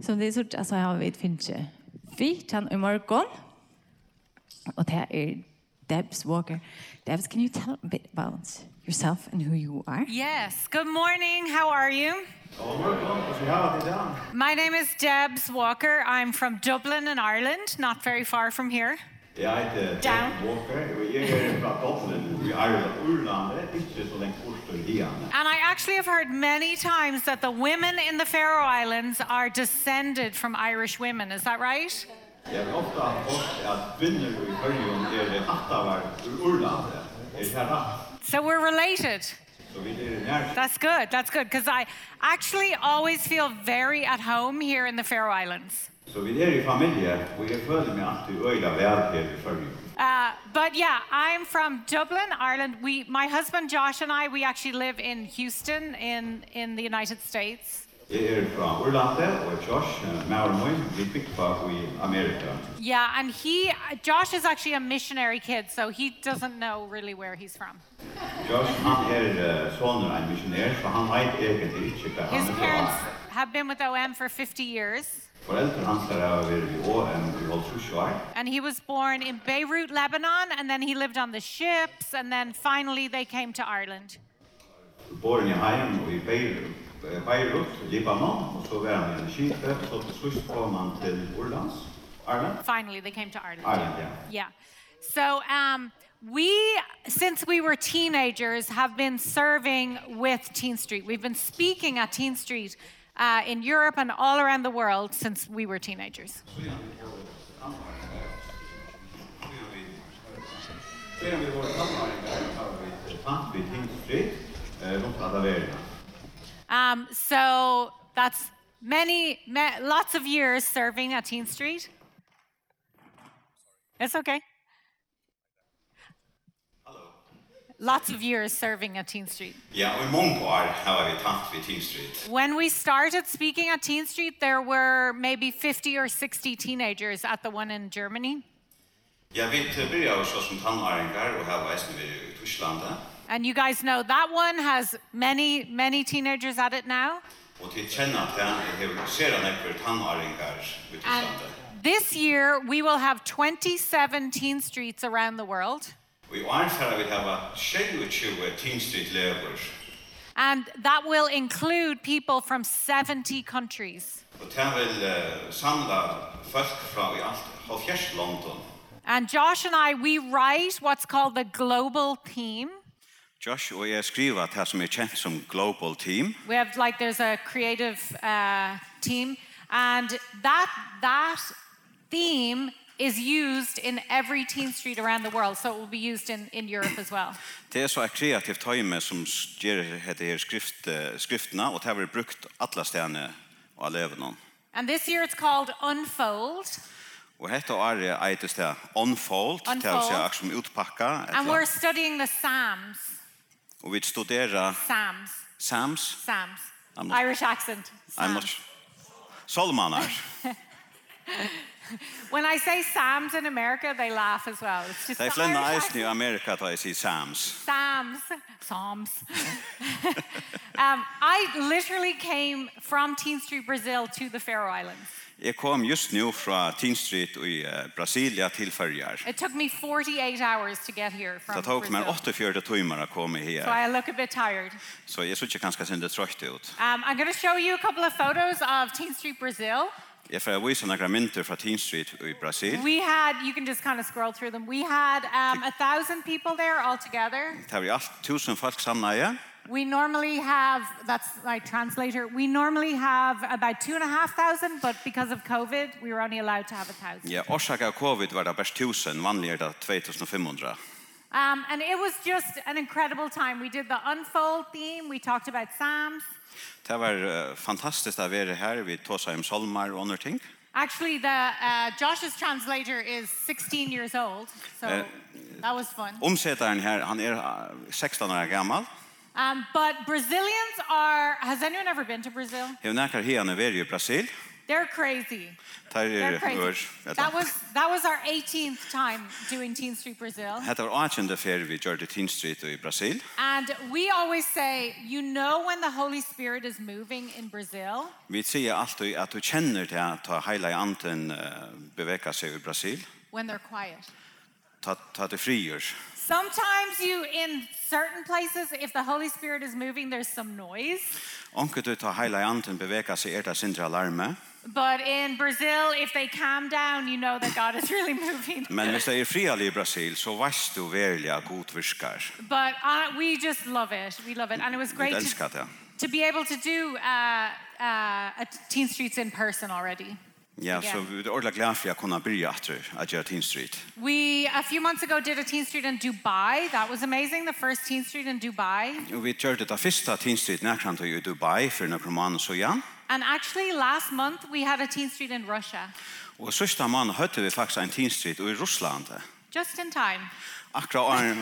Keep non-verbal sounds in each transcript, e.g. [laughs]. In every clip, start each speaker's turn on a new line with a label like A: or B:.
A: Som det är sort, alltså jag vet finns inte. Vi kan i morgon. Och det är Debs Walker. Debs, can you tell a bit about yourself and who you are?
B: Yes. Good morning. How are you? My name is Debs Walker. I'm from Dublin in Ireland, not very far from here.
C: Jeg heter
B: Down.
C: Ted Walker, og jeg er fra Dublin i Ireland, Urlandet, ikke så lenge bort i Rianne.
B: And I actually have heard many times that the women in the Faroe Islands are descended from Irish women. Is that right?
C: Jeg har ofte fått at kvinner i Førjum er det hattavar i Urlandet, er det rett,
B: So we're related.
C: så vi er nært.
B: That's good. That's good. Because I actually always feel very at home here in the Faroe Islands.
C: Så vi er i familie, og jeg føler meg alltid øyla vel her i Førjum.
B: Uh, but yeah, I'm from Dublin, Ireland. We, my husband Josh and I, we actually live in Houston in, in the United States.
C: Jeg er fra Urlandet, og Josh, Maurmoy, vi fikk bak i Amerika.
B: Yeah, and he, Josh is actually a missionary kid, so he doesn't know really where he's from.
C: Josh, han er eh, soner av en missionær, så han vet egentlig ikke hva
B: His
C: han er
B: parents
C: fra.
B: have been with OM for 50 years,
C: Foreldrene hans er av å være i Åen i Holtzusjøy,
B: and he was born in Beirut, Lebanon, and then he lived on the ships, and then finally they came to Ireland.
C: Born i Heim og i Beirut, Beirut, Libanon, og så var han i en skipet, og så til slutt kom han til Orlands, Ireland.
B: Finally, they came to Ireland.
C: Ireland, ja.
B: Yeah. So um, we, since we were teenagers, have been serving with Teen Street. We've been speaking at Teen Street uh, in Europe and all around the world since we were teenagers.
C: Før vi var i Danmark, så var vi fant vi Tingsfrid, rundt Adaverna.
B: Um, so that's many, ma- lots of years serving at Teen Street. It's okay. Lots of years serving at Teen Street.
C: Ja, og i mange år har vi tatt vi Tingsfrid.
B: When we started speaking at Teen Street, there were maybe 50 or 60 teenagers at the one in Germany.
C: Jeg vet, vi blir jo så som tannæringar, og her var jeg som vi i Torslandet.
B: And you guys know that one has many, many teenagers at it now.
C: Og til kjenner at er- jeg har ser han etter tannæringar i
B: And
C: Torslandet.
B: this year, we will have 27 Teen Streets around the world.
C: Og i år har vi hatt 27 Tingsfrid-lever,
B: And that will include people from 70 countries.
C: Og det vil uh, samla folk fra i alt halvfjerds London.
B: And Josh and I, we write what's called the global theme.
C: Josh og jeg skriver det som er kjent som Global Team.
B: We have like there's a creative uh, team, and that that theme is used in every Teen Street around the world. So it will be used in in Europe as well.
C: Det er så et kreativt time som s- gjør dette her skrift, eh, skriftene, og det har vært brukt alle stedene av elevene.
B: And this year it's called Unfold,
C: Og dette året eites det Unfold, det er
B: Unfold.
C: altså akkurat som utpakka.
B: and we're studying the Psalms.
C: Og vi studerer
B: Psalms.
C: Sams,
B: Psalms.
C: I'm not-
B: Irish accent.
C: I'm
B: Psalms.
C: not Solmanar.
B: When I say Psalms in America, they laugh as well. It's just
C: Det er
B: the
C: flere
B: Irish
C: eisen i Amerika da jeg sier Sams.
B: Psalms. Psalms. [laughs] um, I literally came from Teen Street Brazil to the Faroe Islands.
C: Jeg kom just nu fra Teen Street i eh, Brasilia til Førjar.
B: It took me 48 hours to get here from
C: Det tok meg
B: Brazil.
C: 48 timer å komme
B: So
C: her,
B: I look a bit tired.
C: så jeg synes ikke ganske sin det trøyt ut.
B: Um, I'm going to show you a couple of photos of Teen Street Brazil.
C: Jeg får vise noen mynter fra Teen Street i Brasil.
B: We had, you can just kind of scroll through them. We had um, a thousand people there altogether.
C: Det var i alt tusen folk samleie.
B: We normally have, that's my translator, we normally have about two and a half thousand, but because of COVID, we were only allowed to have a thousand.
C: Ja, årsak av covid var det bare 1000, vanlig er det 2500.
B: Um, and it was just an incredible time. We did the unfold theme, we talked about Psalms.
C: Det var eh, fantastisk å være her, vi tog seg om solmar og andre ting.
B: Actually, the uh, Josh's translator is 16 years old, so
C: Uh, oh.
B: that was fun.
C: Omsetteren her, han er eh, 16 år gammal.
B: Um, but Brazilians are, has anyone ever been to Brazil?
C: Jeg nærker her han er i Brasil.
B: They're crazy.
C: Tar
B: They're
C: er ur.
B: crazy. That was that was our 18th time doing Teen Street Brazil.
C: Hetta var 18. ferie vi gjorde Teen Street i Brasil.
B: And we always say, you know when the Holy Spirit is moving in Brazil
C: Vi sier alltid at du kjenner til at ta heila i anten uh, beveka seg i Brasil.
B: when they're quiet.
C: Ta, ta det frier.
B: Sometimes you in certain places if the Holy Spirit is moving there's some noise,
C: Onke du ta heila i anten beveka seg er det sindre alarme.
B: but in Brazil if they calm down, you know that God is [laughs] really moving.
C: Men hvis det er frialig i Brasil, så veist du verlig at god virkar.
B: But uh, we just love it. We love it. And it was
C: Vi
B: great to,
C: elskar det.
B: to be able to do uh, uh, a Teen Streets in person already.
C: Ja, så
B: Ja.
C: vi er ordentlig glad for jeg kunne byrja atter at gjøre Teen Street.
B: We, a few months ago, did a Teen Street in Dubai. That was amazing, the first Teen Street in Dubai.
C: Og Vi gjør det da første Teen Street nærkant i Dubai for noen måneder så igjen.
B: And actually, last month, we had a Teen Street in Russia,
C: Og sørste måned høyte vi faktisk en Teen Street i Russland.
B: just in time.
C: Akkurat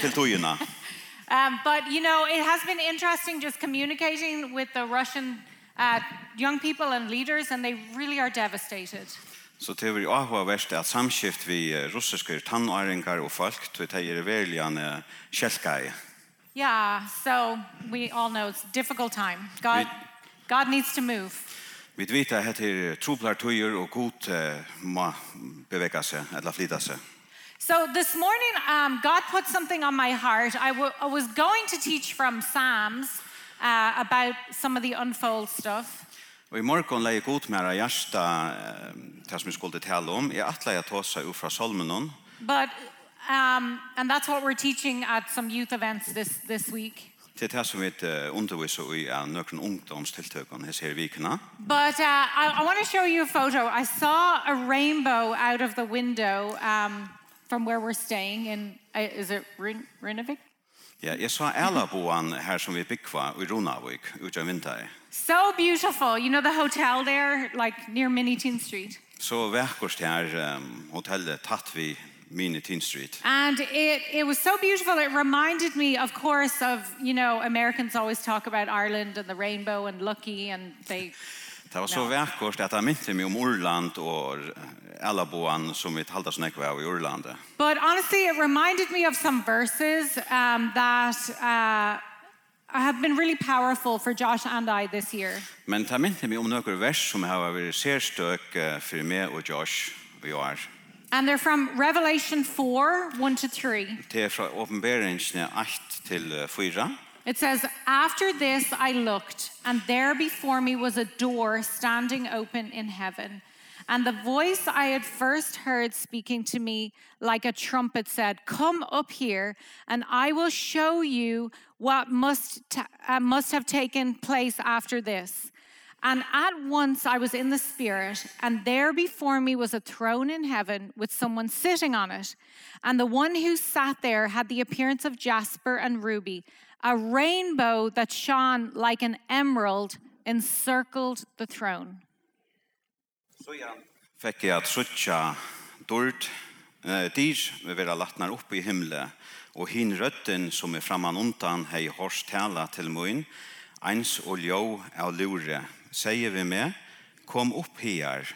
C: til togene.
B: Um, but, you know, it has been interesting just communicating with the Russian uh, young people and leaders, and they really are devastated.
C: Så det er avhåverst at samskift vi eh, russiske tannåringar og folk, til det er veldig en kjelka i.
B: Yeah, so we all know it's a difficult time. God,
C: We-
B: God needs to move.
C: Vi vet at det er troblar tøyer og god eh, må bevega seg, eller flytta seg.
B: So this morning, um, God put something on my heart. I wa- I was going to teach from Psalms uh, about some of the unfold stuff,
C: Og i morgon leie god med av hjärsta, eh, det som vi skulle tale om, jeg atle jeg tåsa ut fra Solmenon,
B: but um, and that's what we're teaching at some youth events this this week.
C: til det som vi eh, underviser i av nøkron ungdomstiltøkken hans her i vikene.
B: But uh, I, I want to show you a photo. I saw a rainbow out of the window um, from where we're staying in. Uh, is it Rin- Rinnavik?
C: Ja, jeg sa Elaboan her som vi byggva i Ronavik, ut av vinter.
B: So beautiful. You know the hotel there, like near Mini Teen Street.
C: Så vekkurs til her um, hotellet tatt vi Mini Teen Street.
B: And it, it was so beautiful. It reminded me, of course, of, you know, Americans always talk about Ireland and the rainbow and lucky and they,
C: Det var så
B: Ja.
C: vekkurs at jeg mynte meg om Orland og Elaboan som vi talte sånn ekve av i Orlandet.
B: but honestly, it reminded me of some verses um, that uh, have been really powerful for Josh and I this year.
C: Men det mynte meg om noen vers som har vært sérstøk eh, for meg og Josh og jeg.
B: And they're from Revelation 4 1 to 3.
C: Det er fra åpenberingene 8 til eh, 4.
B: It says, After this I looked, and there before me was a door standing open in heaven. And the voice I had first heard speaking to me like a trumpet said, Come up here, and I will show you what must, ta- uh, must have taken place after this. And at once I was in the Spirit, and there before me was a throne in heaven with someone sitting on it. And the one who sat there had the appearance of jasper and ruby, a rainbow that shone like an emerald encircled the throne.
C: Så ja. Fikk jeg at suttja dård, eh, dyr, vi vera latnar opp i himle, og hin røtten som er framman undan hei hors tala til mun, eins og ljó av lure, sier vi med, kom opp her,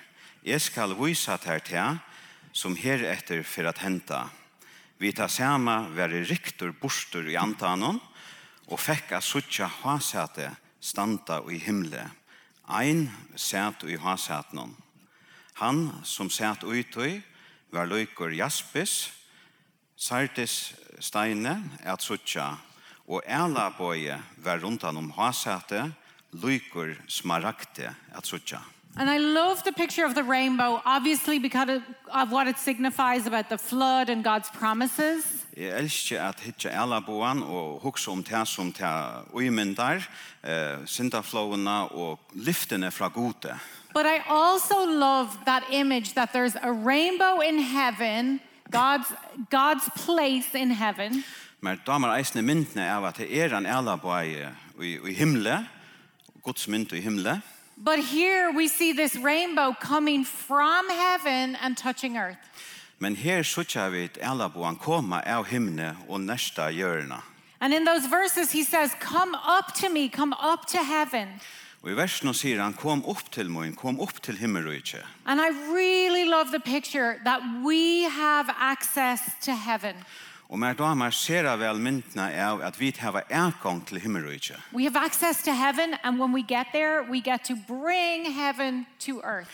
C: jeg skal vysa ter til, som her etter for at henta. Vi tar sama være riktor borster i antanon, og fekk a suttja hasate standa i himle, ein sat i hasatnon. Han som sat utøy var løyker Jaspis, Sartis steine at suttja, og æla bøye var rundan um om hasate, løyker smaragde at suttja.
B: And I love the picture of the rainbow, obviously because of, of what it signifies about the flood and God's promises.
C: Jeg elsker at hitja æla boan og hugsa um om det som det uimyndar, eh, syndaflåene og lyftene fra gode.
B: But I also love that image that there's a rainbow in heaven, God's God's place in heaven,
C: Men damer eisne myndene av at det er en æla bøye i, i himle, Guds mynd i himle,
B: but here we see this rainbow coming from heaven and touching earth.
C: Men her sutja vi et elaboan koma av himne og nesta hjørna.
B: And in those verses he says, "Come up to me, come up to heaven."
C: Og i versen sier han, kom opp til moin, kom opp til himmelrøyke.
B: And I really love the picture that we have access to heaven.
C: Og mer damer ser jeg vel myndene av at vi har ergang til himmelrøyke.
B: We have access to heaven, and when we get there, we get to bring heaven to earth.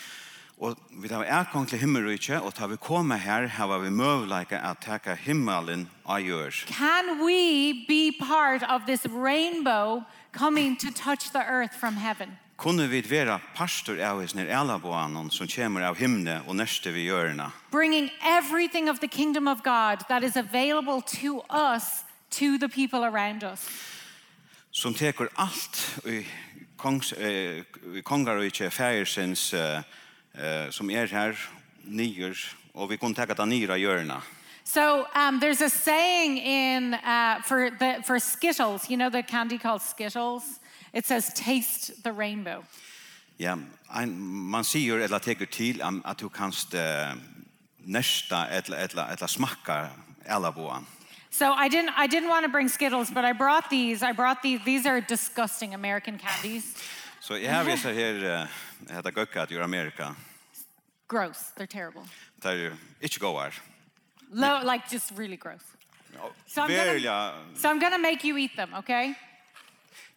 C: Og vi har ergang til himmelrøyke, og tar vi komme her, har vi møvleika at taka himmelen av gjør.
B: Can we be part of this rainbow coming to touch the earth from heaven?
C: Kunne vi være pastor av hos nere alaboanen som kommer av himne og neste vi gjørna.
B: Bringing everything of the kingdom of God that is available to us to the people around us.
C: Som teker alt i, kongs, eh, i kongarøyke fægersens eh, eh, som er her, nyer, og vi kunne teka ta nyra gjørna.
B: So um, there's a saying in uh, for the for Skittles. You know the candy called Skittles. It says, "Taste the rainbow."
C: Ja, ein, man sier eller teker til am- at du kanst eh, nesta eller, eller, eller smakka alaboan.
B: So I didn't I didn't want to bring Skittles, but I brought these. I brought these. These are disgusting American candies.
C: Så jeg har vist her, eh, hetta gøkka til Amerika.
B: Gross. They're terrible.
C: Det er jo ikke gåar.
B: Low, like just really gross. So I'm gonna-
C: Verja,
B: So I'm gonna make you eat them. Okay.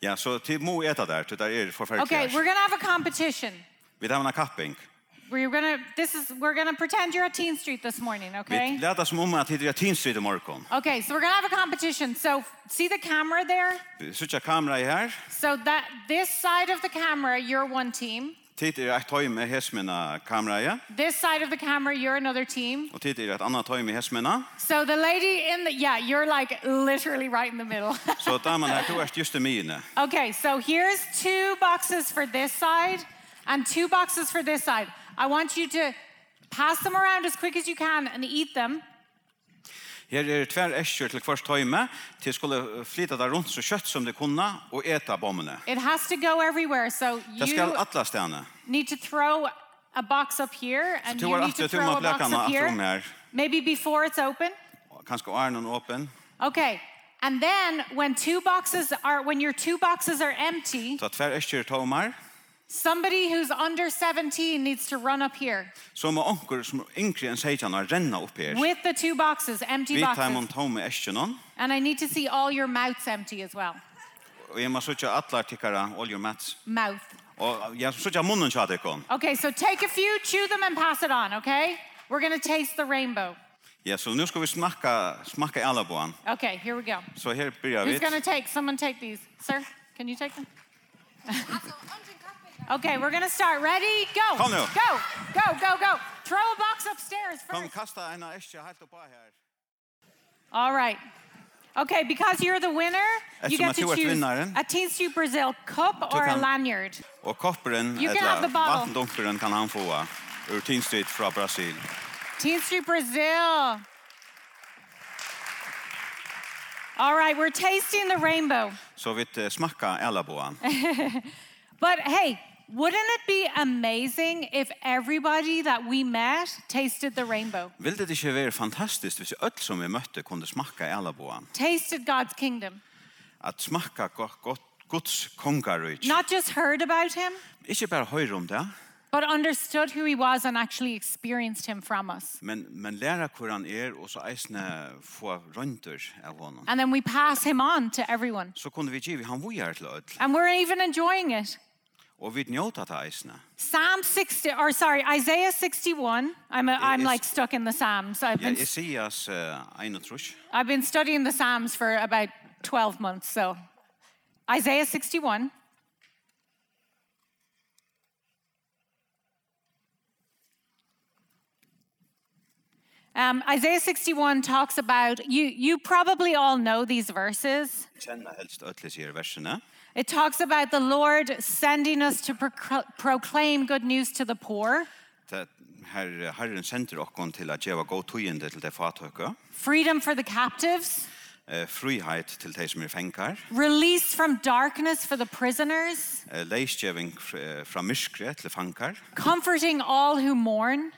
C: Ja, så til må eta der, til der er forferdelig.
B: Okay. We're gonna have a competition.
C: Vi tar en kapping.
B: We're gonna. This is. We're gonna pretend you're at Teen Street this morning. Okay.
C: Vi leta som om at det er tinstrid i morgon.
B: Okay, so we're gonna have a competition. So see the camera there?
C: Vi Sutja kamera i her.
B: So that this side of the camera, you're one team.
C: Tid er et tøy med hesmena kamera, ja.
B: This side of the camera, you're another team.
C: Og tid er et annet tøy med hesmena.
B: So the lady in the yeah, you're like literally right in the middle. [laughs]
C: Så damen her, du erst just i mine.
B: okay, so here's two boxes for this side and two boxes for this side. I want you to pass them around as quick as you can and eat them.
C: Her er tver eskjør til kvart tøy med, til skulle flyta der rundt så kjøtt som det kunne, og eta bommene.
B: It has to go everywhere. So
C: Det
B: you
C: skal atla stene.
B: need to throw a box up here and
C: Du
B: you
C: har
B: need to
C: alltid
B: throw
C: tumma
B: a box
C: blekene
B: up
C: at rom
B: here.
C: er her.
B: Maybe before it's open.
C: Kanskje arnen åpen.
B: Okay. And then when two boxes are when your two boxes are empty,
C: Så tver eskjør tøymer.
B: somebody who's under 17 needs to run up here
C: Så må onker som er yngre enn 16 år renna opp her.
B: with the two boxes, empty
C: Vi tar
B: boxes.
C: mun tome eskjønnen,
B: And I need to see all your mouths empty as well.
C: og jeg må sutja atlar tikkara all your mats.
B: Mouth.
C: Og jeg sutja munnen tja tikkon.
B: Okay, so take a few, chew them and pass it on, okay? We're going to taste the rainbow.
C: Ja, så nu skal vi smakka, smakka alla på han.
B: Okay, here we go.
C: Så her byrjar vi.
B: Who's going to take? Someone take these. Sir, can you take them? [laughs] okay, we're going to start. Ready? Go.
C: Kom nu.
B: Go. Go, go, go. Throw a box upstairs first.
C: Kom, kasta en eskjø helt oppa her.
B: All right. Okay, because you're the winner, you
C: Eftersom
B: get
C: att
B: to
C: du är
B: choose
C: vinnaren.
B: a Teen Street Brazil cup or a
C: kan-
B: lanyard.
C: Og kopperen,
B: You can have
C: eller
B: the bottle.
C: vattendunkeren kan han få av, ur Teen Street fra Brasil.
B: Teen Street Brazil. All right, we're tasting the rainbow.
C: Så vi eh, smakka alla på
B: [laughs]
C: han.
B: But hey, wouldn't it be amazing if everybody that we met tasted the rainbow,
C: Vil det ikke være fantastisk hvis öll som vi møtte kunne smakka alla på han?
B: tasted God's kingdom?
C: At smakka godt, godt Guds kongarøyt.
B: Not just heard about him,
C: Ikke bare høyre om det,
B: but understood who he was and actually experienced him from us.
C: men, men læra hvor han er, og så eisne få rønter av honom.
B: And then we pass him on to everyone.
C: så kunne vi give han vujar til öll.
B: And we're even enjoying it.
C: Og vi njóta ta eisne.
B: Psalm 60, or sorry, Isaiah 61. I'm, a, I'm
C: is-
B: like stuck in the Psalms. I've
C: Ja,
B: been,
C: Isias uh, 31.
B: I've been studying the Psalms for about 12 months. So Isaiah 61. Um, Isaiah 61 talks about, you, you probably all know these verses.
C: Kjenna helst öll i sier versene.
B: It talks about the Lord sending us to proc- proclaim good news to the poor,
C: Det her Herren sender okkon til at geva god tøyende til det fatøkke,
B: freedom for the captives,
C: eh, frihet til de som er fengar,
B: release from darkness for the prisoners,
C: eh, leisgjeving fr- eh, fra myskre til fangar,
B: comforting all who mourn,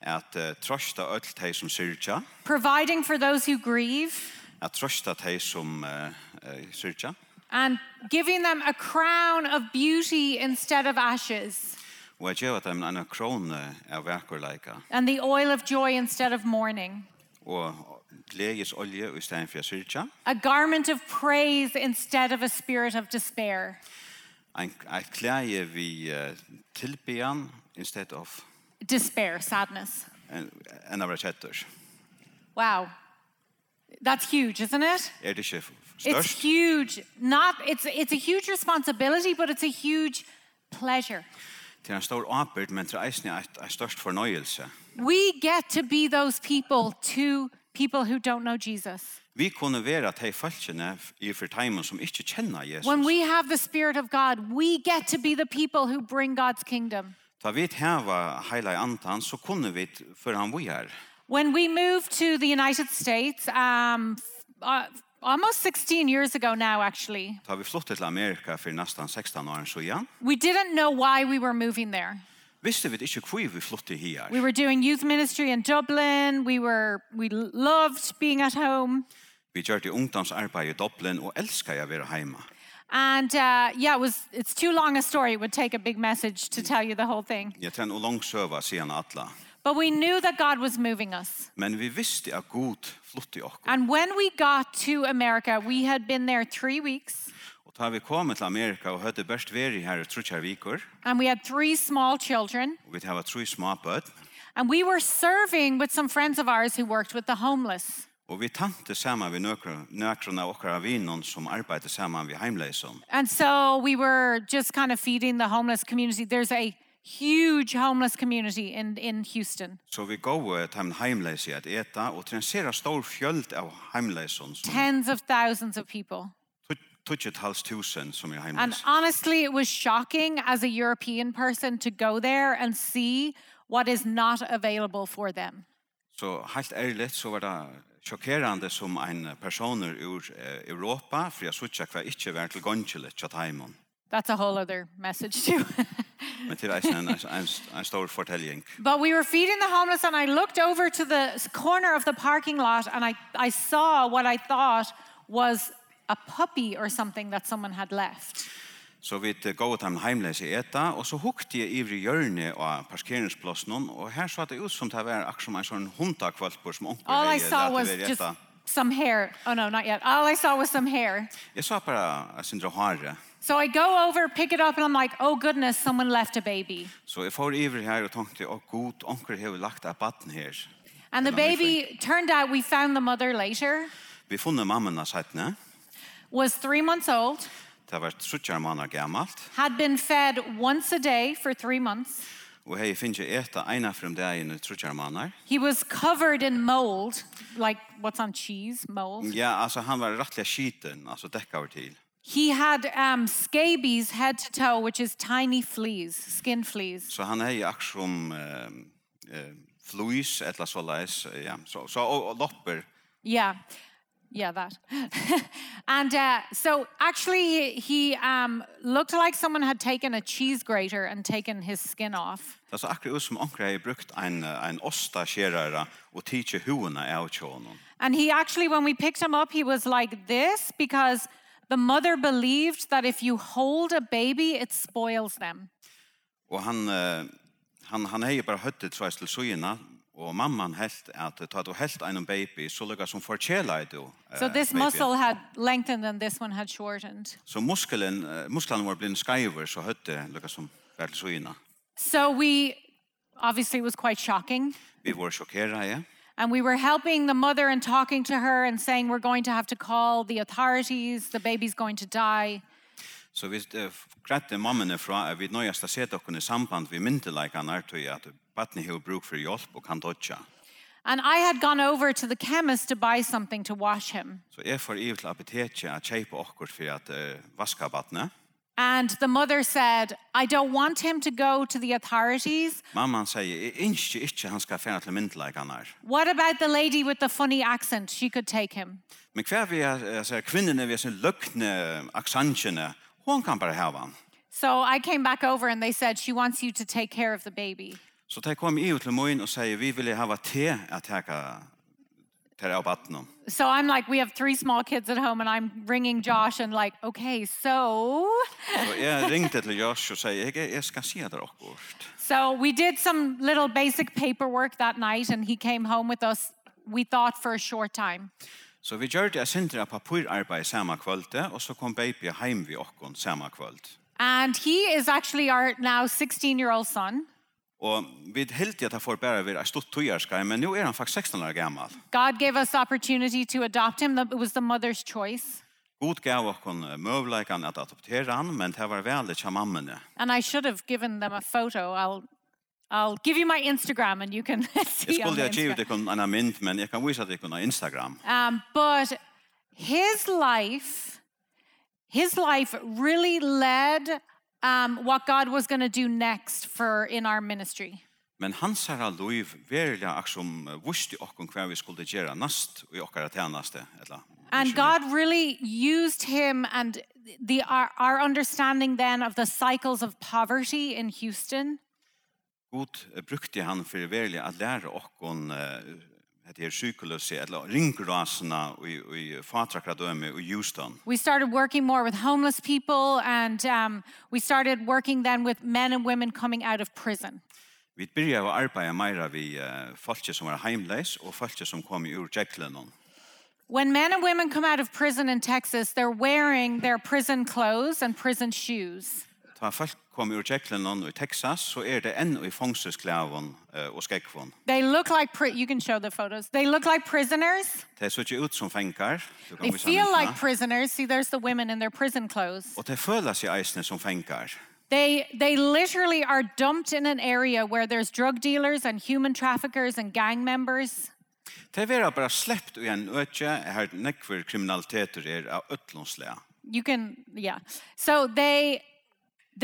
C: at eh, trøsta öll de som syrtja,
B: providing for those who grieve,
C: at trøsta de som eh, eh, syrtja,
B: and giving them a crown of beauty instead of ashes,
C: Og jeg gjør at dem en krone av verkerleika,
B: and the oil of joy instead of mourning,
C: og gledes olje i stedet for syrtja,
B: a garment of praise instead of a spirit of despair,
C: en, en klæje vi uh, tilbean i stedet av
B: despair, sadness.
C: en, en av rettjetter.
B: Wow. That's huge, isn't it?
C: Er det ikke
B: It's
C: størst?
B: huge. Not it's it's a huge responsibility, but it's a huge pleasure.
C: Det er en stor arbeid, men det er eisne et, et størst fornøyelse.
B: We get to be those people to people who don't know Jesus.
C: Vi kunne være at hei falskene i for teimen som ikke kjenner Jesus.
B: When we have the Spirit of God, we get to be the people who bring God's kingdom.
C: Da vi heva heila i antan, så kunne vi før han vi er.
B: When we moved to the United States, um, f- uh, almost 16 years ago now, actually,
C: Da vi flyttet til Amerika for nesten 16 år siden,
B: we didn't know why we were moving there.
C: visste vi ikke hvor vi flyttet her. er.
B: We were doing youth ministry in Dublin. We were we loved being at home.
C: Vi gjør det ungdomsarbeid i Dublin og elsker jeg å være hjemme.
B: And uh, yeah, it was it's too long a story. It would take a big message to tell you the whole thing.
C: Jeg trenger noe langt søve, sier han alle.
B: But we knew that God was moving us.
C: Men vi visste at god flyttet oss.
B: And when we got to America, we had been there 3 weeks
C: Og da vi kom til Amerika og hadde best vært her i trutja viker,
B: and we had 3 small children
C: og vi hadde tre små bød,
B: and we were serving with some friends of ours who worked with the homeless.
C: og vi tante sammen ved nøkrene av okkara vinnene som arbeidet sammen ved heimleisen.
B: And so we were just kind of feeding the homeless community. There's a huge homeless community in in Houston.
C: Så vi gav dem heimleis i at eta, og til en sera stor fjöld av heimleisen, som
B: Tens of thousands of people.
C: tutset hals tusen som er
B: And
C: heimleis.
B: honestly, it was shocking as a European person to go there and see what is not available for them.
C: Så helt ærligt så var det sjokkerande som en personer ur eh, Europa, for jeg suttet hva ikke var til gongjelet tjatt heimon.
B: That's a whole other message, too. [laughs]
C: Men til eisen en, en, en stor fortelling.
B: but we were feeding the homeless, and I looked over to the s- corner of the parking lot and I, I saw what I thought was a puppy or something that someone had left.
C: Så vi gav dem heimleis i eta, og så hukte jeg ivrig hjørne av parkeringsplassen, og her så det ut som det var akkurat som en sånn hundakvalpur som onker
B: All I saw was
C: eh,
B: just some hair. Oh, no, not yet. All I saw was some hair.
C: Jeg er sa bare Sindra Hare,
B: So I go over, pick it up, and I'm like, oh, goodness, someone left a baby.
C: Så jeg får iver her og tenkte, å god, onker har lagt av baden her.
B: And the
C: And I'm
B: baby turned out, we found the mother later,
C: Vi funnet mammen av sættene.
B: was three months old,
C: Det var truttjar måneder gammalt.
B: had been fed once a day for three months.
C: Og hei finnes jeg eta ena frem dagen i truttjar måneder.
B: He was covered in mold, like what's on cheese, mold.
C: Ja, altså han var rettelig skiten, altså dekka over til.
B: He had um, scabies head to toe, which is tiny fleas, skin fleas.
C: Så han hei akkur som eh, eh, fluis, etla så leis, ja. Så, så og, og lopper.
B: Yeah. Yeah, that. [laughs] and uh, so actually, he, he um, looked like someone had taken a cheese grater and taken his skin off.
C: Det er så akkur ut som onker hei brukt en, eh, en osta skjerare og tidsje hoene av tjånen.
B: And he actually, when we picked him up, he was like this because the mother believed that if you hold a baby, it spoils them.
C: Og han eh, han han hei bara høttet så til suyna og mamman helt at ta du helt ein baby så lukka som forkjela i du. eh,
B: So this
C: babyen.
B: muscle had lengthened and this one had shortened.
C: så muskelen eh, musklan var blind skyver så høtte lukka som var til suyna.
B: So we obviously it was quite shocking.
C: Vi var sjokkera ja.
B: And we were helping the mother and talking to her and saying, We're going to have to call the authorities, the baby's going to die.
C: Så vi eh, grette mammene fra at vi nøyast å seta okkun i samband vi myndelaikanar tog at Batni hevur bruk for hjálp og kan dodja.
B: And I had gone over to the chemist to buy something to wash him.
C: Så jeg får ivet til apoteket at kjeipa okkur for at uh, vaska batne.
B: And the mother said, I don't want him to go to the authorities.
C: Mamman sier, jeg innskje ikke han skal færa til myndelaikanar.
B: What about the lady with the funny accent? She could take him.
C: Men hver vi er, altså, kvinnerne vi er sin løgne, aksantjene, hun kan bare hava han.
B: So I came back over and they said, She wants you to take care of the baby.
C: Så de kom i ut til morgen og sier, vi vil hava te at heka ter av vattnet.
B: So I'm like, we have three small kids at home, and I'm ringing Josh and like, okay, so.
C: Så jeg ringte til Josh og sier, jeg, jeg skal si det akkurat.
B: So we did some little basic paperwork that night, and he came home with us, we thought for a short time.
C: Så vi gjør det jeg sendte av papirarbeid samme kvölde, og så kom baby hjem vi okkon samme kvöld.
B: And he is actually our now 16 year old son.
C: Og vi helt at han får bare være en stort tøyerskaj, men nå er han faktisk 16 år gammal.
B: God gave us opportunity to adopt him, it was the mother's choice.
C: God gav okkon eh, møvleikan at adoptera han, men det var veldig kja mammene.
B: And I should have given them a photo. I'll, I'll give you my Instagram, and you can [laughs] see
C: Jeg
B: on
C: skulle ha givet
B: Instagram.
C: ikon en mynd, men jeg kan vise at ikon av Instagram.
B: Um, but his life, his life really led um, what God was going to do next for in our ministry.
C: Men hans herra loiv verilig aksom vusti eh, okkon hva vi skulle gjøre nast i okkara tænaste. Eller,
B: And God really used him and the our, our understanding then of the cycles of poverty in Houston.
C: God eh, brukte han for verilig at lære okkon eh, det her sykeløse, eller ringrasene i, i fatrakradøme i Houston.
B: We started working more with homeless people, and um, we started working then with men and women coming out of prison.
C: Vi byrja å arbeide meira vi uh, folke som var heimleis og folke som kom ur Jekyllenen.
B: When men and women come out of prison in Texas, they're wearing their prison clothes and prison shoes.
C: Ta folk kom ur Jekyllenen og i Texas, så er det enn i fångsesklæven uh, og skekvån.
B: They look like pri- you can show the photos. They look like prisoners.
C: Det så ikke ut som fengar. Du
B: They
C: kan visa
B: feel like
C: myndina.
B: prisoners. See, there's the women in their prison clothes.
C: Og det føler seg eisne som fengar.
B: They they literally are dumped in an area where there's drug dealers and human traffickers and gang members.
C: Det vera bara sleppt i en øtje, her nekver kriminaliteter er av ötlånslega.
B: You can yeah. So they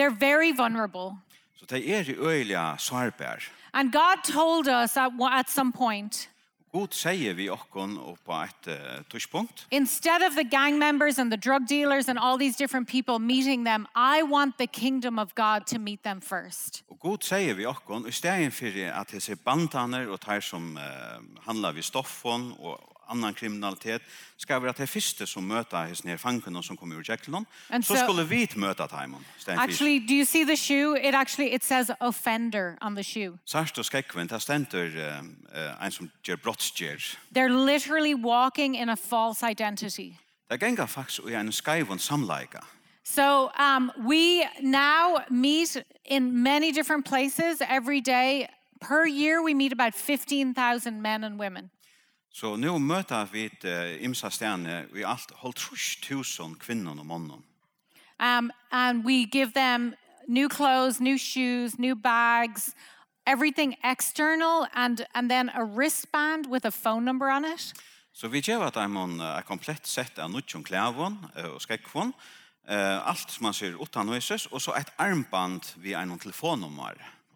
B: they're very vulnerable.
C: Så det er i øyliga sårbær.
B: And God told us at wa- at some point
C: God sier vi okkon og på et uh, tushpunkt,
B: instead of the gang members and the drug dealers and all these different people meeting them, I want the kingdom of God to meet them first.
C: Og god sier vi okkon, i stedet for at disse bandaner og tar som eh, handlar vi stoffon og annan kriminalitet, skal være det første som møter disse her fankene som kommer ur Jekyllon,
B: And
C: så
B: so-
C: skulle vi møte Taimon.
B: Actually, do you see the shoe? It actually it says offender on the shoe.
C: Sørst og skrekkven, det stender eh, eh, en som gjør brottsgjør.
B: They're literally walking in a false identity.
C: Det ganger faktisk i en skreivon samleika.
B: So um, we now meet in many different places every day. Per year, we meet about 15,000 men and women.
C: Så nå møter vi et eh, imsa stene i alt holdt trus tusen kvinner og mannen.
B: Um, and we give them new clothes, new shoes, new bags, everything external, and, and then a wristband with a phone number on it.
C: Så vi gjør at man er komplett sett av nødtjong klævån eh, og skrekkvån, eh, alt som man ser utan høyses, og så et armband vi er noen telefonnummer.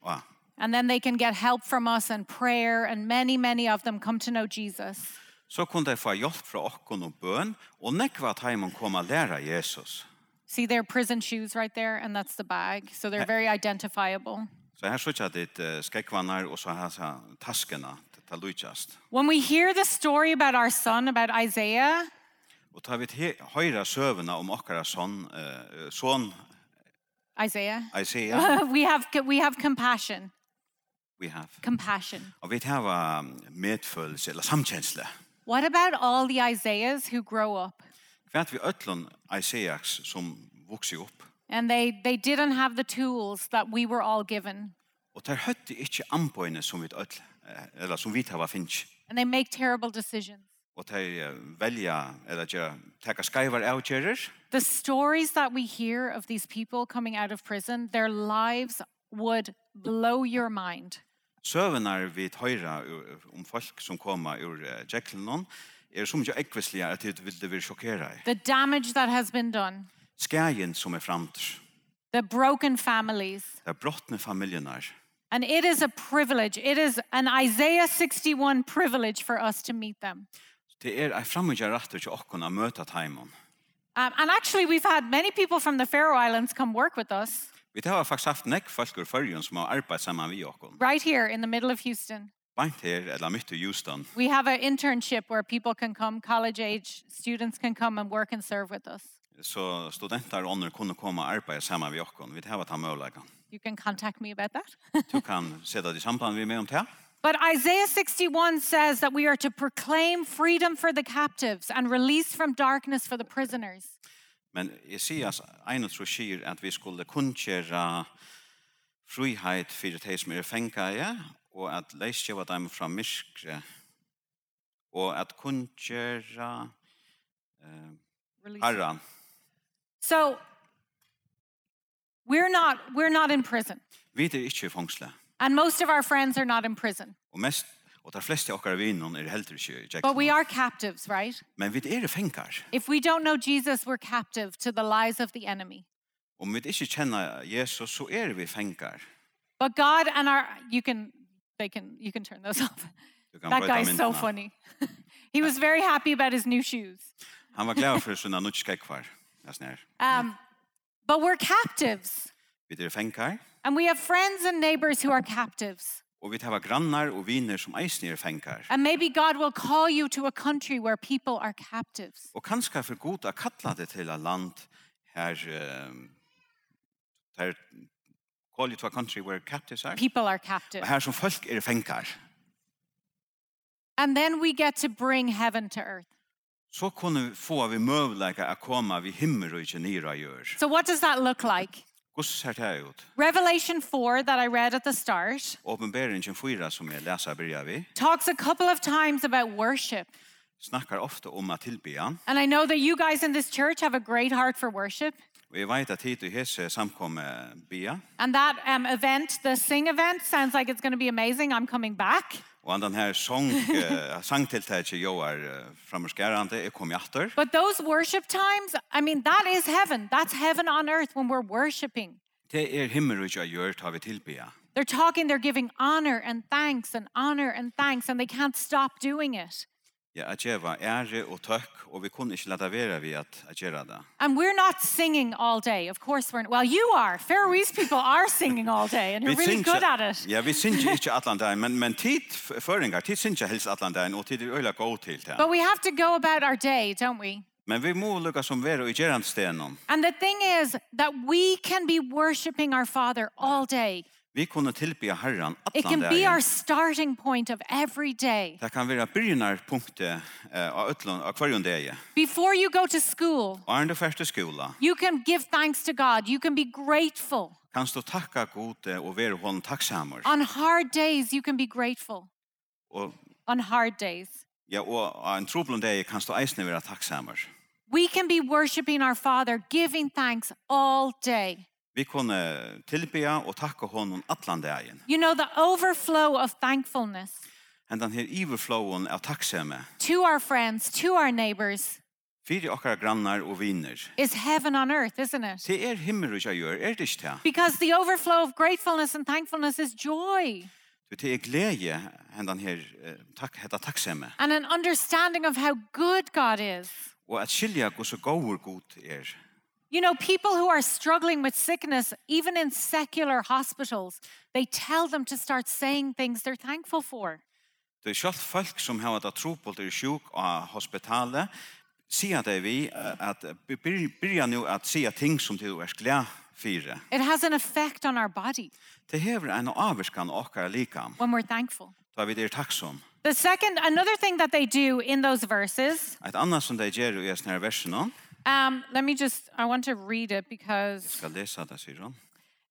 C: Ja.
B: And then they can get help from us and prayer, and many, many of them come to know Jesus.
C: Så kunne de få hjelp fra okken og bøn, og nekva at heimann kom og lære Jesus.
B: See their prison shoes right there, and that's the bag. So they're very identifiable.
C: Så her sitter jeg ditt eh, skrekkvannar, og så her sa taskene til til Lujast.
B: When we hear the story about our son, about Isaiah,
C: Og tar vi til høyre søvende om okkara sånn, eh, sånn
B: Isaiah,
C: Isaiah,
B: [laughs] we have we have compassion,
C: we have.
B: compassion.
C: Og vi tar um, medfølelse, eller samkjensle.
B: What about all the Isaiahs who grow up
C: Hva er vi øtlån Isaias som vokser opp?
B: and they they didn't have the tools that we were all given,
C: Og der høtte ikke anbøyene som vi øtl, eh, eller som vi tar var finnes.
B: and they make terrible decisions?
C: Og der velja, eller gjør, teka skaivar avgjører.
B: The stories that we hear of these people coming out of prison, their lives would blow your mind.
C: Søvenar vi høyra u- om folk som kommer ur eh, Jekyllnon, er som ikke ekvislige at det ville vi sjokkere
B: The
C: i.
B: damage that has been done,
C: Skægen som er fremtid,
B: the broken families,
C: det er brottne familjenar.
B: And it is a privilege. It is an Isaiah 61 privilege for us to meet them.
C: Det er ei fremmedja rettur til okkon å møte teimen.
B: Um, and actually, we've had many people from the Faroe Islands come work with us
C: Vi tar faktisk haft nekk folk ur fyrjun som har arbeidt saman vi okkon.
B: right here in the middle of Houston.
C: Beint her, eller mitt i Houston.
B: We have an internship where people can come, college age students can come and work and serve with us.
C: Så studenter og andre kunne komme og arbeide sammen med oss. Vi tar hva ta mulighet.
B: You can contact me about that. [laughs]
C: Du kan sette deg i samband med meg om det.
B: But Isaiah 61 says that we are to proclaim freedom for the captives and release from darkness for the prisoners.
C: Men Isias egnet så sier at vi skulle kunngjøre frihet for de som er fengt og at leisgjøve dem fra myrkre, og at kunngjøre eh,
B: Release.
C: herren.
B: So we're not we're not in prison.
C: Vi er ikke i fengsle,
B: And most of our friends are not in prison.
C: og mest Og de fleste av dere vinnene er heller ikke i
B: But we
C: Jackson.
B: are captives, right?
C: Men vi er fengar.
B: If we don't know Jesus, we're captive to the lies of the enemy.
C: Om vi ikke kjenner Jesus, så er vi fengar.
B: But God and our you can they can you can turn those [laughs] off.
C: Du kan
B: That
C: brøyta
B: guy is so
C: myndina.
B: funny. [laughs] he was very happy about his new shoes.
C: Han var glad for sina nutskekvar. Nästan här.
B: Um, but we're captives.
C: Vi är fänkar.
B: And we have friends and neighbors who are captives.
C: Och vi har grannar och viner som eisen är fänkar.
B: And maybe God will call you to a country where people are captives.
C: Och kanske för god att kalla det till ett land här eh, här call it to a country where captives are.
B: People are captive.
C: Och här som folk är fänkar.
B: And then we get to bring heaven to earth.
C: Så kunne vi få vi mövläka att komma vid himmel och inte nira gör.
B: So, what does that look like?
C: Guds ser det här ut.
B: Revelation 4, that I read at the start,
C: Åpenberingen 4 som jag läser börjar vi
B: talks a couple of times about worship.
C: snackar ofta om att tillbe.
B: And I know that you guys in this church have a great heart for worship.
C: Och jag vet att hit och hese samkommer bia.
B: And that um, event, the sing event, sounds like it's going to be amazing. I'm coming back.
C: Og han den her
B: [laughs]
C: sång, uh, sangtiltaket jo er uh, framskærande, jeg kom i atter.
B: But those worship times, I mean, that is heaven. That's heaven on earth when we're worshiping.
C: Det er himmel og jeg gjør, tar vi tilbya.
B: They're talking, they're giving honor and thanks and honor and thanks, and they can't stop doing it.
C: Ja, at jeg var ære og tøkk, og vi kunne ikke lade være vi at at gjøre det.
B: And we're not singing all day. Of course, we're well. You are. Faroese people are singing all day, and you're really good at it.
C: Ja, vi synger ikke Atlantein, men, men tid f- føringar, tid synger helst Atlantein, og tid er øyla god til det.
B: But we have to go about our day, don't we?
C: Men vi må lukka som vera og gjøre stenen.
B: And the thing is that we can be worshiping our Father all day.
C: Vi kunne tilbya Herren
B: It can be our
C: Atlantein.
B: starting point of every day.
C: Det kan være byrjunarpunktet eh, av Øtland, av hverjundegi.
B: Before you go to school,
C: Og er det første skola,
B: You can give thanks to God. You can be grateful.
C: Kanst du takka gode og være hon takksamur.
B: On hard days, you can be grateful.
C: Og,
B: On hard days.
C: ja, og av en troblen deg kanst du eisne være takksamur.
B: We can be worshiping our Father, giving thanks all day.
C: Vi kunne tilbya og takka honom allan dagen.
B: You know, the overflow of thankfulness
C: Hendan her iverflowon av takksame
B: to our friends, to our neighbors,
C: fyrir okkara grannar og viner.
B: is heaven on earth, isn't it?
C: Det er himmel og jeg gjør, er det ikke det?
B: Because the overflow of gratefulness and thankfulness is joy
C: Du, Det er glede hendan her eh, tak, heta takksame.
B: and an understanding of how good God is.
C: Og at skilja hos og gaur god er.
B: You know, people who are struggling with sickness, even in secular hospitals, they tell them to start saying things they're thankful for.
C: Det er sjálf folk som har vært trobult og sjuk av hospitalet, sier det vi eh, at byrja nu at sier ting som du er glad for.
B: It has an effect on our body
C: Det hever en avvirskan okkar likam,
B: when we're thankful.
C: da vi er takksom.
B: The second, another thing that they do in those verses,
C: Et annet som det gjør i sånne her versen nå,
B: um, let me just, I want to read it because
C: skal lese det, sier han.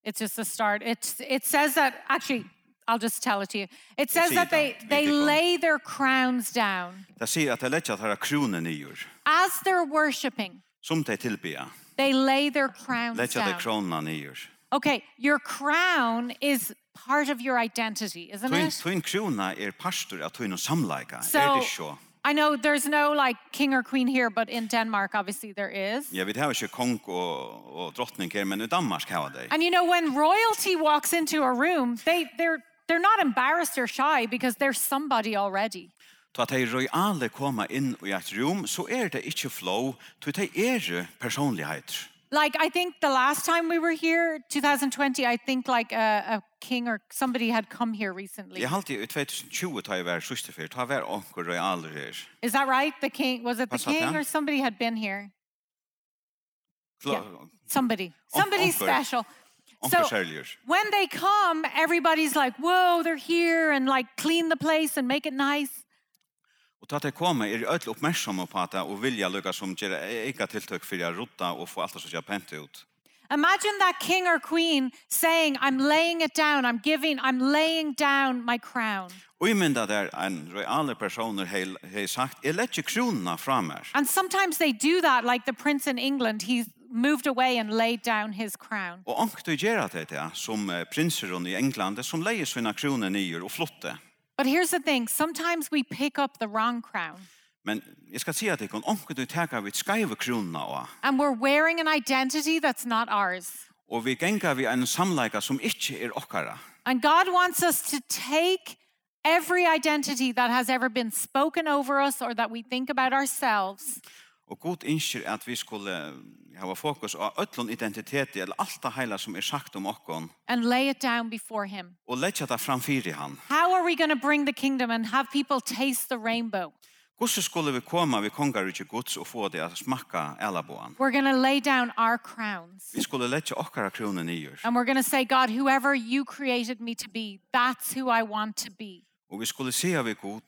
B: it's just a start. It's, it says that, actually, I'll just tell it to you. It says
C: see
B: that
C: it
B: they,
C: on-
B: they
C: it on.
B: lay their crowns down
C: Det sier at det lett at her kronen nyur,
B: as they're worshiping.
C: som det tilbya,
B: They lay their crowns
C: lett at
B: down.
C: det krona nyur.
B: Okay, your crown is part of your identity, isn't
C: Tuin,
B: it?
C: tuin krona er pastor at tuin og samleika, er
B: So
C: det så?
B: I know there's no like king or queen here, but in Denmark, obviously, there is.
C: Jeg vet her ikke kong og, og drottning her, men i Danmark har det.
B: And you know, when royalty walks into a room, they, they're, they're not embarrassed or shy because they're somebody already.
C: Ta at de royale koma inn i et rom, så er det ikke flow, ta at de er personligheter.
B: Like, I think the last time we were here, 2020, I think like a, a king or somebody had come here recently.
C: Jeg halte i 2020 tar jeg vær sørste fyrt, tar vær anker og alder her.
B: Is that right? The king, was it the
C: What's that,
B: king
C: yeah?
B: or somebody had been here?
C: Kla,
B: Somebody. Somebody
C: onkel.
B: special.
C: Onkel Sherlier.
B: when they come, everybody's like, whoa, they're here and like clean the place and make it nice.
C: Og ta til komme er ødelig oppmerksomme på at det, og vilja lukka som gjør ikke tiltøk for jeg rotta og få alt det som gjør pent ut.
B: Imagine that king or queen saying, I'm laying it down, I'm giving, I'm laying down my crown.
C: Og jeg mynda der en royale personer hei, hei sagt, jeg lett ikke kronene fra meg.
B: And sometimes they do that, like the prince in England, he's moved away and laid down his crown.
C: Og ankt du gjør det det, som eh, prinseren i England, som leier sine kroner nyer og flotte.
B: But here's the thing sometimes we pick up the wrong crown
C: Men jeg skal si at jeg kan ankt du teka vidt skaive kronene av,
B: and we're wearing an identity that's not ours.
C: og vi genga vi en samleika som ikke er okkara.
B: And God wants us to take every identity that has ever been spoken over us or that we think about ourselves
C: Og god innskir at vi skulle hava fokus på öllun identiteti, eller alt det heila som er sagt om okkon,
B: and lay it down before Him.
C: og leggja det framfyrir han.
B: How are we going to bring the kingdom and have people taste the rainbow?
C: Gosse skulle vi koma vi kongarutje gods og få det at smakka elaboan.
B: We're going to lay down our crowns.
C: Vi skulle leggja okkara kroner nyer,
B: And we're going to say, God, whoever you created me to be, that's who I want to be.
C: og vi skulle se vi god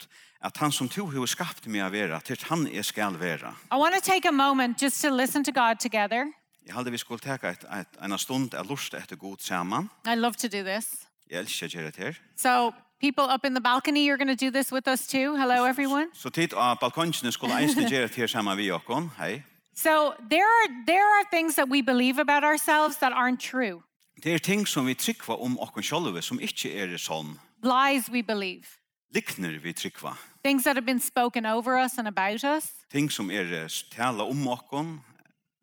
C: at han som to hevur skapt meg a vera, til han er skal vera.
B: I want to take a moment just to listen to God together.
C: Jeg halde vi skulle teka et, et, en stund av lust etter god saman.
B: I love to do this.
C: Jeg elsker gjerret her.
B: So, people up in the balcony, you're going to do this with us too. Hello, everyone.
C: Så tid av balkongene skulle eisne gjerret her saman vi okkon. Hei.
B: So, there are, there are things that we believe about ourselves that aren't true,
C: Det er ting som vi tryggva om okkon sjálve som ikkje er sånn.
B: lies we believe,
C: Likner vi tryggva.
B: things that have been spoken over us and about us.
C: Ting som er eh, tala om okkon,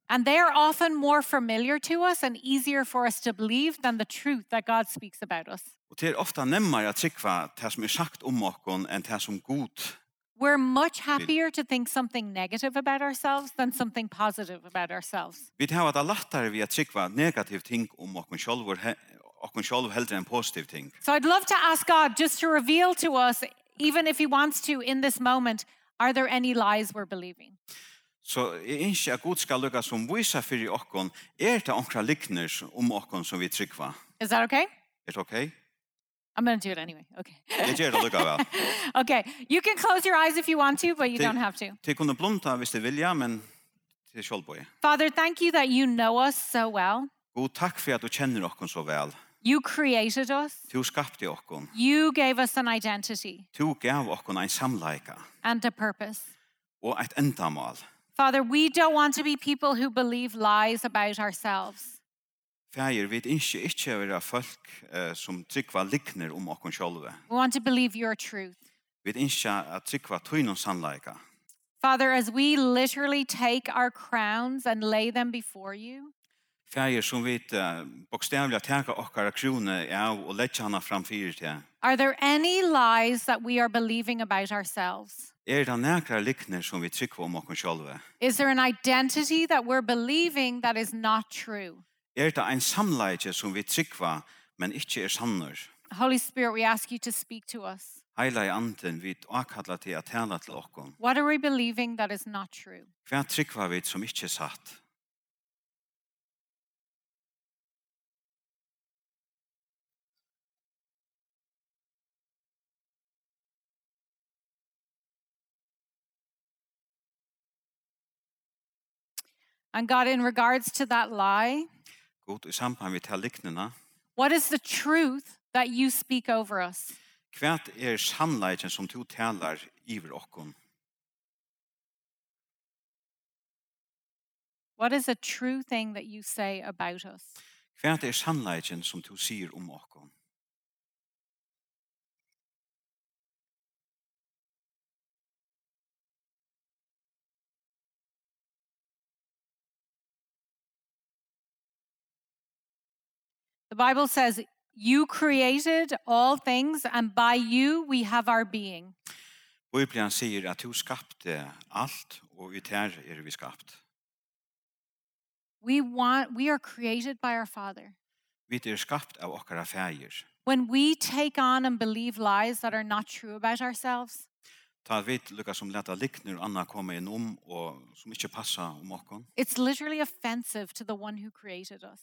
B: And they are often more familiar to us and easier for us to believe than the truth that God speaks about us.
C: og det er ofta nemmare at tryggva det som er sagt om okkon enn det som god.
B: We're much happier to think something negative about ourselves than something positive about ourselves.
C: Vi tar det lattare vi at tryggva negativ ting om okkon sjálvor, he- okkon sjálv heldur enn positiv ting.
B: So I'd love to ask God just to reveal to us, even if He wants to in this moment, are there any lies we're believing?
C: Så jeg innskje at god skal lukka som visa fyrir okkon, er det onkra um likner om okkon som vi tryggva.
B: Is that okay?
C: Er det ok?
B: I'm going to do it anyway. Okay. [laughs]
C: Jeg gjør det lukka vel.
B: Okay. You can close your eyes if you want to, but you
C: Ti-
B: don't have to.
C: Ti kunne blunda hvis de vilja, men til sjálvboi.
B: Father, thank you that you know us so well.
C: God, takk for at du kjenner okkon så vel.
B: You created us,
C: Du skapte okkon.
B: you gave us an identity
C: Du gav okkon ein samleika
B: and a purpose.
C: og eit endamal.
B: Father, we don't want to be people who believe lies about ourselves.
C: Fægir, vi innskje ikkje å være folk eh, som tryggva likner om okkon sjálve.
B: We want to believe your truth.
C: Vi innskje at tryggva tøynum samleika.
B: Father, as we literally take our crowns and lay them before you,
C: Fægir, som vi eh, bokstavlig teka okkara krone av og leggja hana framfyrir til.
B: are there any lies that we are believing about ourselves?
C: Er det nekra likner som vi tryggva om okkon sjálve?
B: Is there an identity that we're believing that is not true?
C: Er det ein samleike som vi tryggva, men ikkje er sannur?
B: Holy Spirit, we ask you to speak to us.
C: Heila i anden vi akalla til at tala til okkon.
B: What are we believing that is not true?
C: Hva tryggva vi som ikkje er satt?
B: And God, in regards to that lie,
C: God, i samband vi til liknena,
B: what is the truth that you speak over us?
C: hva er sannleiken som du talar iver okkon?
B: What is a true thing that you say about us?
C: Hva er sannleiken som du sier om okkon?
B: The Bible says, You created all things, and by you we have our being.
C: Bibelen sier at du skapte alt, og i tær er vi skapt.
B: We want we are created by our Father.
C: Vi er skapt av okkara fægir.
B: When we take on and believe lies that are not true about ourselves,
C: Ta vit lukka som leta liknur anna koma inn om og som ikkje passa um om okkon.
B: it's literally offensive to the one who created us.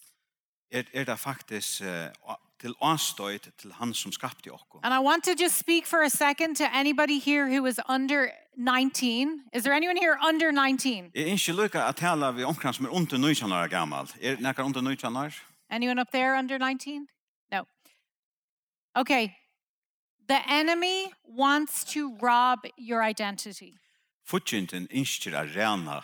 C: Er, er det faktisk eh, a- til avstøyt til han som skapte okkon.
B: And I want to just speak for a second to anybody here who is under 19. Is there anyone here under 19?
C: Jeg ønsker lukka at tala vi omkran som er under 19 år gammal. Er nekkar under 19 år?
B: Anyone up there under 19? No. Okay. The enemy wants to rob your identity.
C: Futjinten ønsker a rena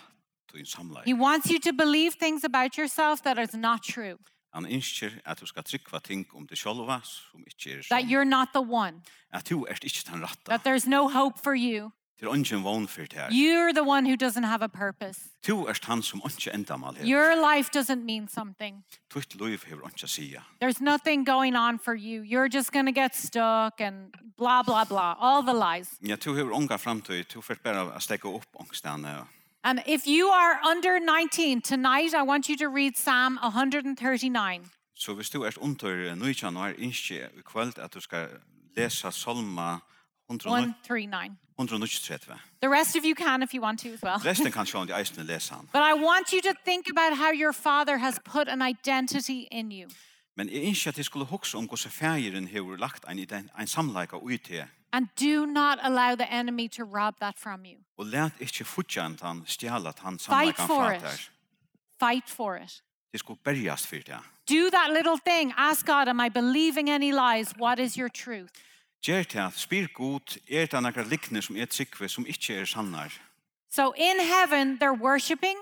C: til
B: He
C: en samleik.
B: wants you to believe things about yourself that is not true,
C: Han ønsker at du skal trykva ting um om det sjolva som ikkje er
B: that
C: sånn.
B: you're not the one,
C: At du er ikkje den ratta. er
B: that there's no hope for you.
C: Til ongen vogn for det her.
B: You're the one who doesn't have a purpose.
C: Du er han som ongen endamal her.
B: Your life doesn't mean something.
C: Tutt loiv hever ongen sia.
B: There's nothing going on for you. You're just going to get stuck and blah, blah, blah. All the lies.
C: Ja, du hever onga framtøy. Du fyrt bare a stekka opp ångstane.
B: And if you are under 19 tonight, I want you to read Psalm 139.
C: Så hvis du er under 19 år, ønsker i kveld at du skal lesa Salma 100
B: 139.
C: 193.
B: The rest of you can if you want to as well.
C: Resten kan sjån i eisene lesa han.
B: But I want you to think about how your father has put an identity in you.
C: Men jeg ønsker at jeg skulle um hoksa om hvordan fægeren hever lagt en, ident- en samleika ut til
B: And do not allow the enemy to rob that from you.
C: og let ikke fortjent han stjæla at han
B: Fight
C: samleikan
B: for
C: fra
B: it.
C: der.
B: Fight for it.
C: Det skulle berjast for det.
B: Do that little thing. Ask God, am I believing any lies? What is your truth?
C: Gjer til at spyr god, er det nekra likner som er tryggve som ikke er sannar.
B: So in heaven, they're worshiping,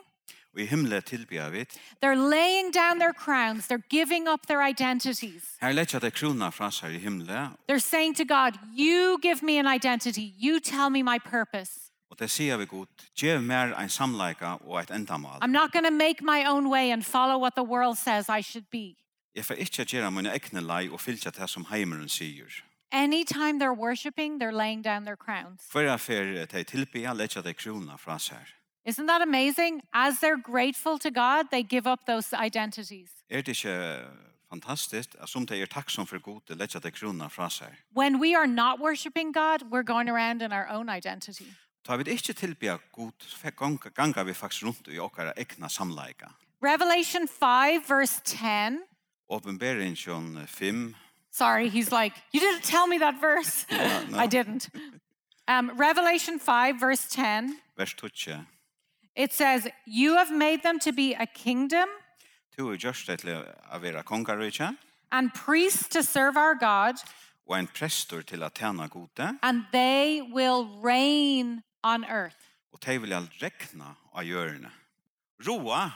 C: Og i himmelet tilbyr vi.
B: they're laying down their crowns, they're giving up their identities.
C: Her letja det krona fra seg i himmelet,
B: They're saying to God, You give me an identity. You tell me my purpose.
C: og det sier vi god, gjev mer en samleika og et endamal.
B: I'm not going to make my own way and follow what the world says I should be.
C: Jeg får ikke gjøre mine egne lei og fylgja det som heimeren sier.
B: Anytime they're worshiping, they're laying down their crowns.
C: Hver affær de tilbyr, letja det krona fra seg.
B: Isn't that amazing? As they're grateful to God, they give up those identities.
C: Er det ikke fantastisk at som de er takksom for god, det letja det krona fra seg.
B: When we are not worshiping God, we're going around in our own identity.
C: Ta vi ikke tilbyr god, så ganga, ganga vi faktisk rundt i okkara egna samleika.
B: Revelation 5, verse 10.
C: Åpenberingsjon 5,
B: Sorry, he's like, you didn't tell me that verse.
C: [laughs] no.
B: I didn't. Um, Revelation 5, verse 10.
C: vers 12.
B: It says, You have made them to be a kingdom
C: Tu er gjørst det til å være kongarøyja,
B: and priests to serve our God,
C: og en prestor til å tjene gode,
B: and they will reign on earth.
C: og de vil rekna av hjørne. Roa,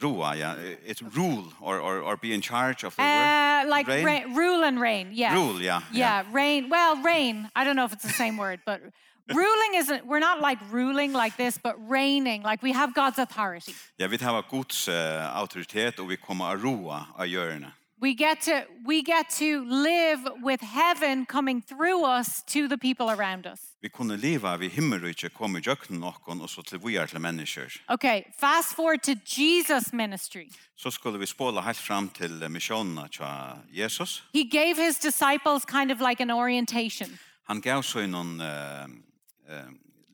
C: roa, ja, it's rule, or, or, or be in charge of the
B: Uh,
C: word.
B: like
C: Reign.
B: reign- rule and reign. Yeah.
C: Rule, yeah,
B: Yeah, reign. Well, reign. I don't know if it's the same word, but ruling isn't, we're not like ruling like this, but reigning. Like we have God's authority.
C: Ja, vi tar gods uh, autoritet, og vi kommer av roa av hjørne.
B: We get to we get to live with heaven coming through us to the people around us.
C: Vi kunne leva vi himmelrykje, komme i jøkken noen, og så til vi er til mennesker.
B: Okay, fast forward to Jesus ministry.
C: Så skulle vi spåla helt fram til eh, misjonene til Jesus.
B: He gave his disciples kind of like an orientation.
C: Han gav så noen uh, uh,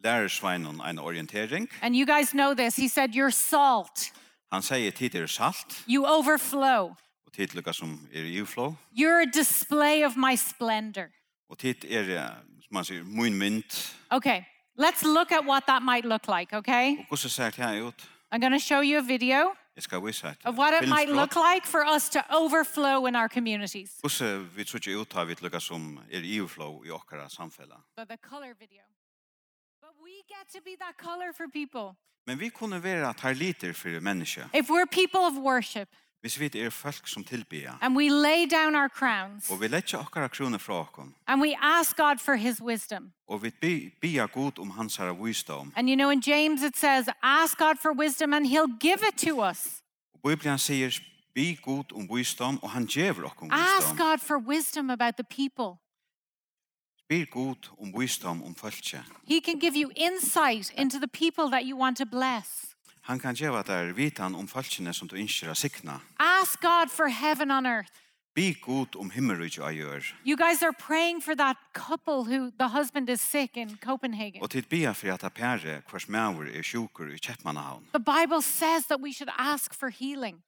C: lærersveinen en orientering.
B: And you guys know this. He said you're salt.
C: Han sier tid er salt,
B: You overflow.
C: og tid lukka som er i uflå,
B: You're a display of my splendor.
C: og tid er, eh, som man sier, mun mynd.
B: Okay. Let's look at what that might look like, okay?
C: Og hvordan ser det her ut?
B: I'm going to show you a video
C: Jeg skal vise et
B: of what it might
C: filmsbrot.
B: look like for us to overflow in our communities.
C: Hvordan vi tror ikke ut har vi lukka som er i uflå i okkara samfella.
B: But the color video. But we get to be that color for people.
C: Men vi kunne være tar liter for menneske.
B: If we're people of worship
C: Hvis vi er folk som tilbyr,
B: and we lay down our crowns
C: og vi letja okkara kroner fra okkon,
B: and we ask God for his wisdom.
C: og vi bi- bia god om hans herre visdom,
B: And you know, in James it says, ask God for wisdom and he'll give it to us.
C: og Bibelen sier, bi god om visdom, og han djever okkon
B: Ask
C: visdom.
B: God for wisdom about the people.
C: Bi god om visdom om folket.
B: He can give you insight into the people that you want to bless.
C: Han kan geva deg vitan om falskene som du ønsker å sikna.
B: Ask God for heaven on earth.
C: Be god om himmelrydje å gjør.
B: You guys are praying for that couple who the husband is sick in Copenhagen.
C: Og tid bia for at apære hvers maur er sjukur i Kjeppmannahavn.
B: The Bible says that we should ask for healing.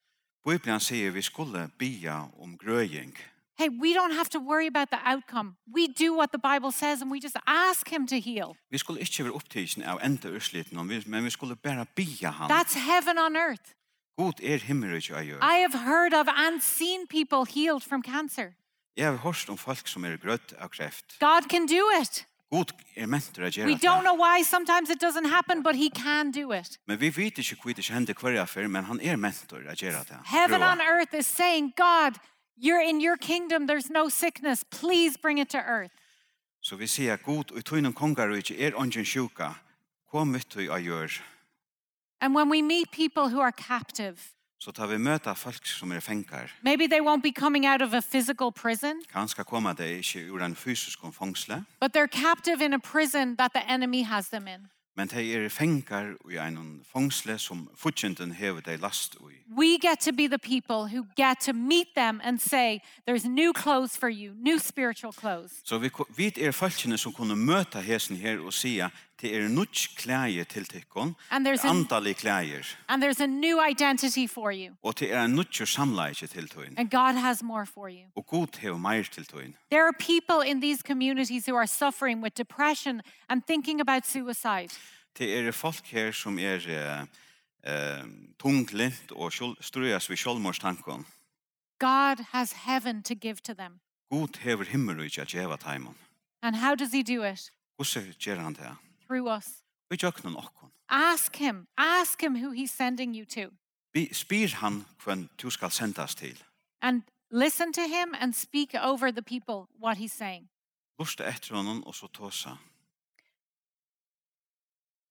C: Bibelen sier vi skulle bia om grøying.
B: Hey, we don't have to worry about the outcome. We do what the Bible says and we just ask Him to heal.
C: Vi skulle ikke være opptidsen av enda ursliten, men vi skulle bare bia han.
B: That's heaven on earth.
C: God er himmelrydje å gjør.
B: I have heard of and seen people healed from cancer.
C: Jeg har hørt om folk som er grøtt av kreft.
B: God can do it.
C: God er mentor å
B: We
C: gjøre
B: don't
C: det.
B: know why sometimes it doesn't happen, but He can do it.
C: Men vi vet ikke hva det ikke hender hver affær, men han er mentor å gjøre det.
B: Heaven
C: Prøva.
B: on earth is saying, God, you're in your kingdom, there's no sickness. Please bring it to earth.
C: Så vi sier god og tøynum kongarøyke er ongen sjuka. Kom mitt og gjør.
B: And when we meet people who are captive,
C: Så tar vi møta folk som er fengar.
B: maybe they won't be coming out of a physical prison,
C: Kanskje koma det ikke ur en fysisk fangsle,
B: but they're captive in a prison that the enemy has them in.
C: men de er fengar i en fangsle som fortjenten hever de last i.
B: We get to be the people who get to meet them and say, There's new clothes for you, new spiritual clothes.
C: Så vi, ko- vi er folkene som kunne møta hesen her og sia til er nutsk klæje til tykkon,
B: And there's an-
C: antallig klæjer,
B: And there's a new identity for you.
C: og til er en nutsk samleje til tøyn.
B: And God has more for you.
C: Og god hever meir til tøyn.
B: There are people in these communities who are suffering with depression and thinking about suicide.
C: Det er folk her som er eh, eh, tunglint og sjol- strøyas ved sjolmorstanken.
B: God has heaven to give to them.
C: God hever himmel og ikke at gjeva taimen.
B: And how does He do it?
C: Hvordan gjør han det?
B: Through us.
C: Vi jøknen okkon.
B: Ask Him. Ask Him who He's sending you to.
C: Vi spyr han hvem du skal sendas til.
B: And listen to Him and speak over the people what He's saying.
C: Lusta etter honom og så tåsa.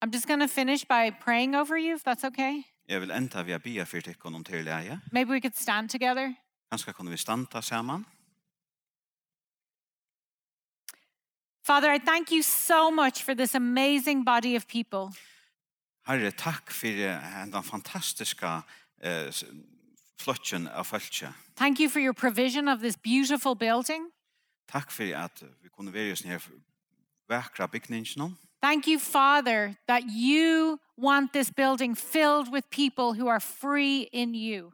B: I'm just going to finish by praying over you, if that's okay.
C: Jeg vil enda vi bia for tikkon om til leie.
B: Maybe we could stand together.
C: Kanskje kunne vi standa saman.
B: Father, I thank you so much for this amazing body of people.
C: Herre, takk for eh, den fantastiska eh, s- flotjen av fölkje.
B: Thank you for your provision of this beautiful building.
C: Takk for at vi kunne være i sånne her vakra bygningsnån.
B: Thank you, Father, that you want this building filled with people who are free in you.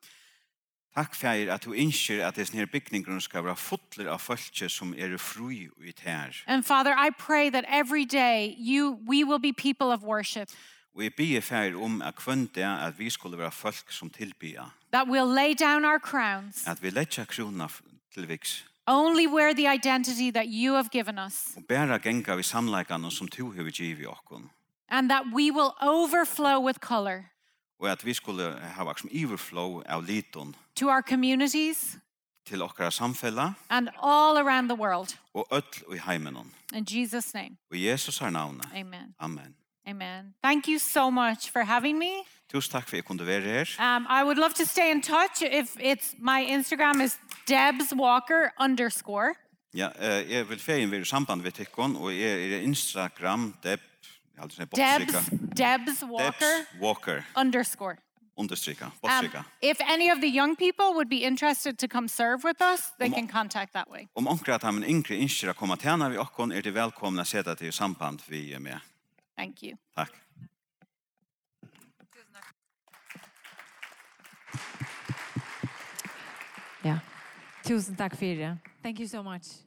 C: Takk fyrir at du innskir at desse her bygningerne skal være fotler av folke som er fri i tær.
B: And Father, I pray that every day you we will be people of worship,
C: Og jeg bier fyrir om at kvønt det er at vi skulle være folk som tilbya.
B: that we'll lay down our crowns
C: At vi letja krona f- til viks.
B: only wear the identity that you have given us,
C: Og bæra genga vi samleikana som tu hefur givi okkon.
B: and that we will overflow with color
C: Og at vi skulle hava som overflow av liton
B: to our communities
C: til okkara samfella
B: and all around the world.
C: og öll i heimenon.
B: In Jesus' name,
C: Og Jesus har navnet.
B: amen.
C: Amen.
B: Amen. Thank you so much for having me.
C: Tusen takk for at jeg kunne være her.
B: Um, I would love to stay in touch. If it's my Instagram is Debs Walker underscore.
C: Ja, eh, jeg vil fegin være i samband ved tykkon, og jeg er Instagram, Deb, jeg har aldri sånn botstrykka.
B: Debs Debs Walker
C: Debs Walker,
B: underscore.
C: understryka,
B: Um,
C: botstrykka.
B: if any of the young people would be interested to come serve with us, they can contact that way.
C: Om onkra at han yngre innskjer å komme tjena vi okkon, er det velkomna å seta til samband vi er med.
B: Thank you.
C: Takk.
A: Yeah. Tusen takk for det. Thank you so much.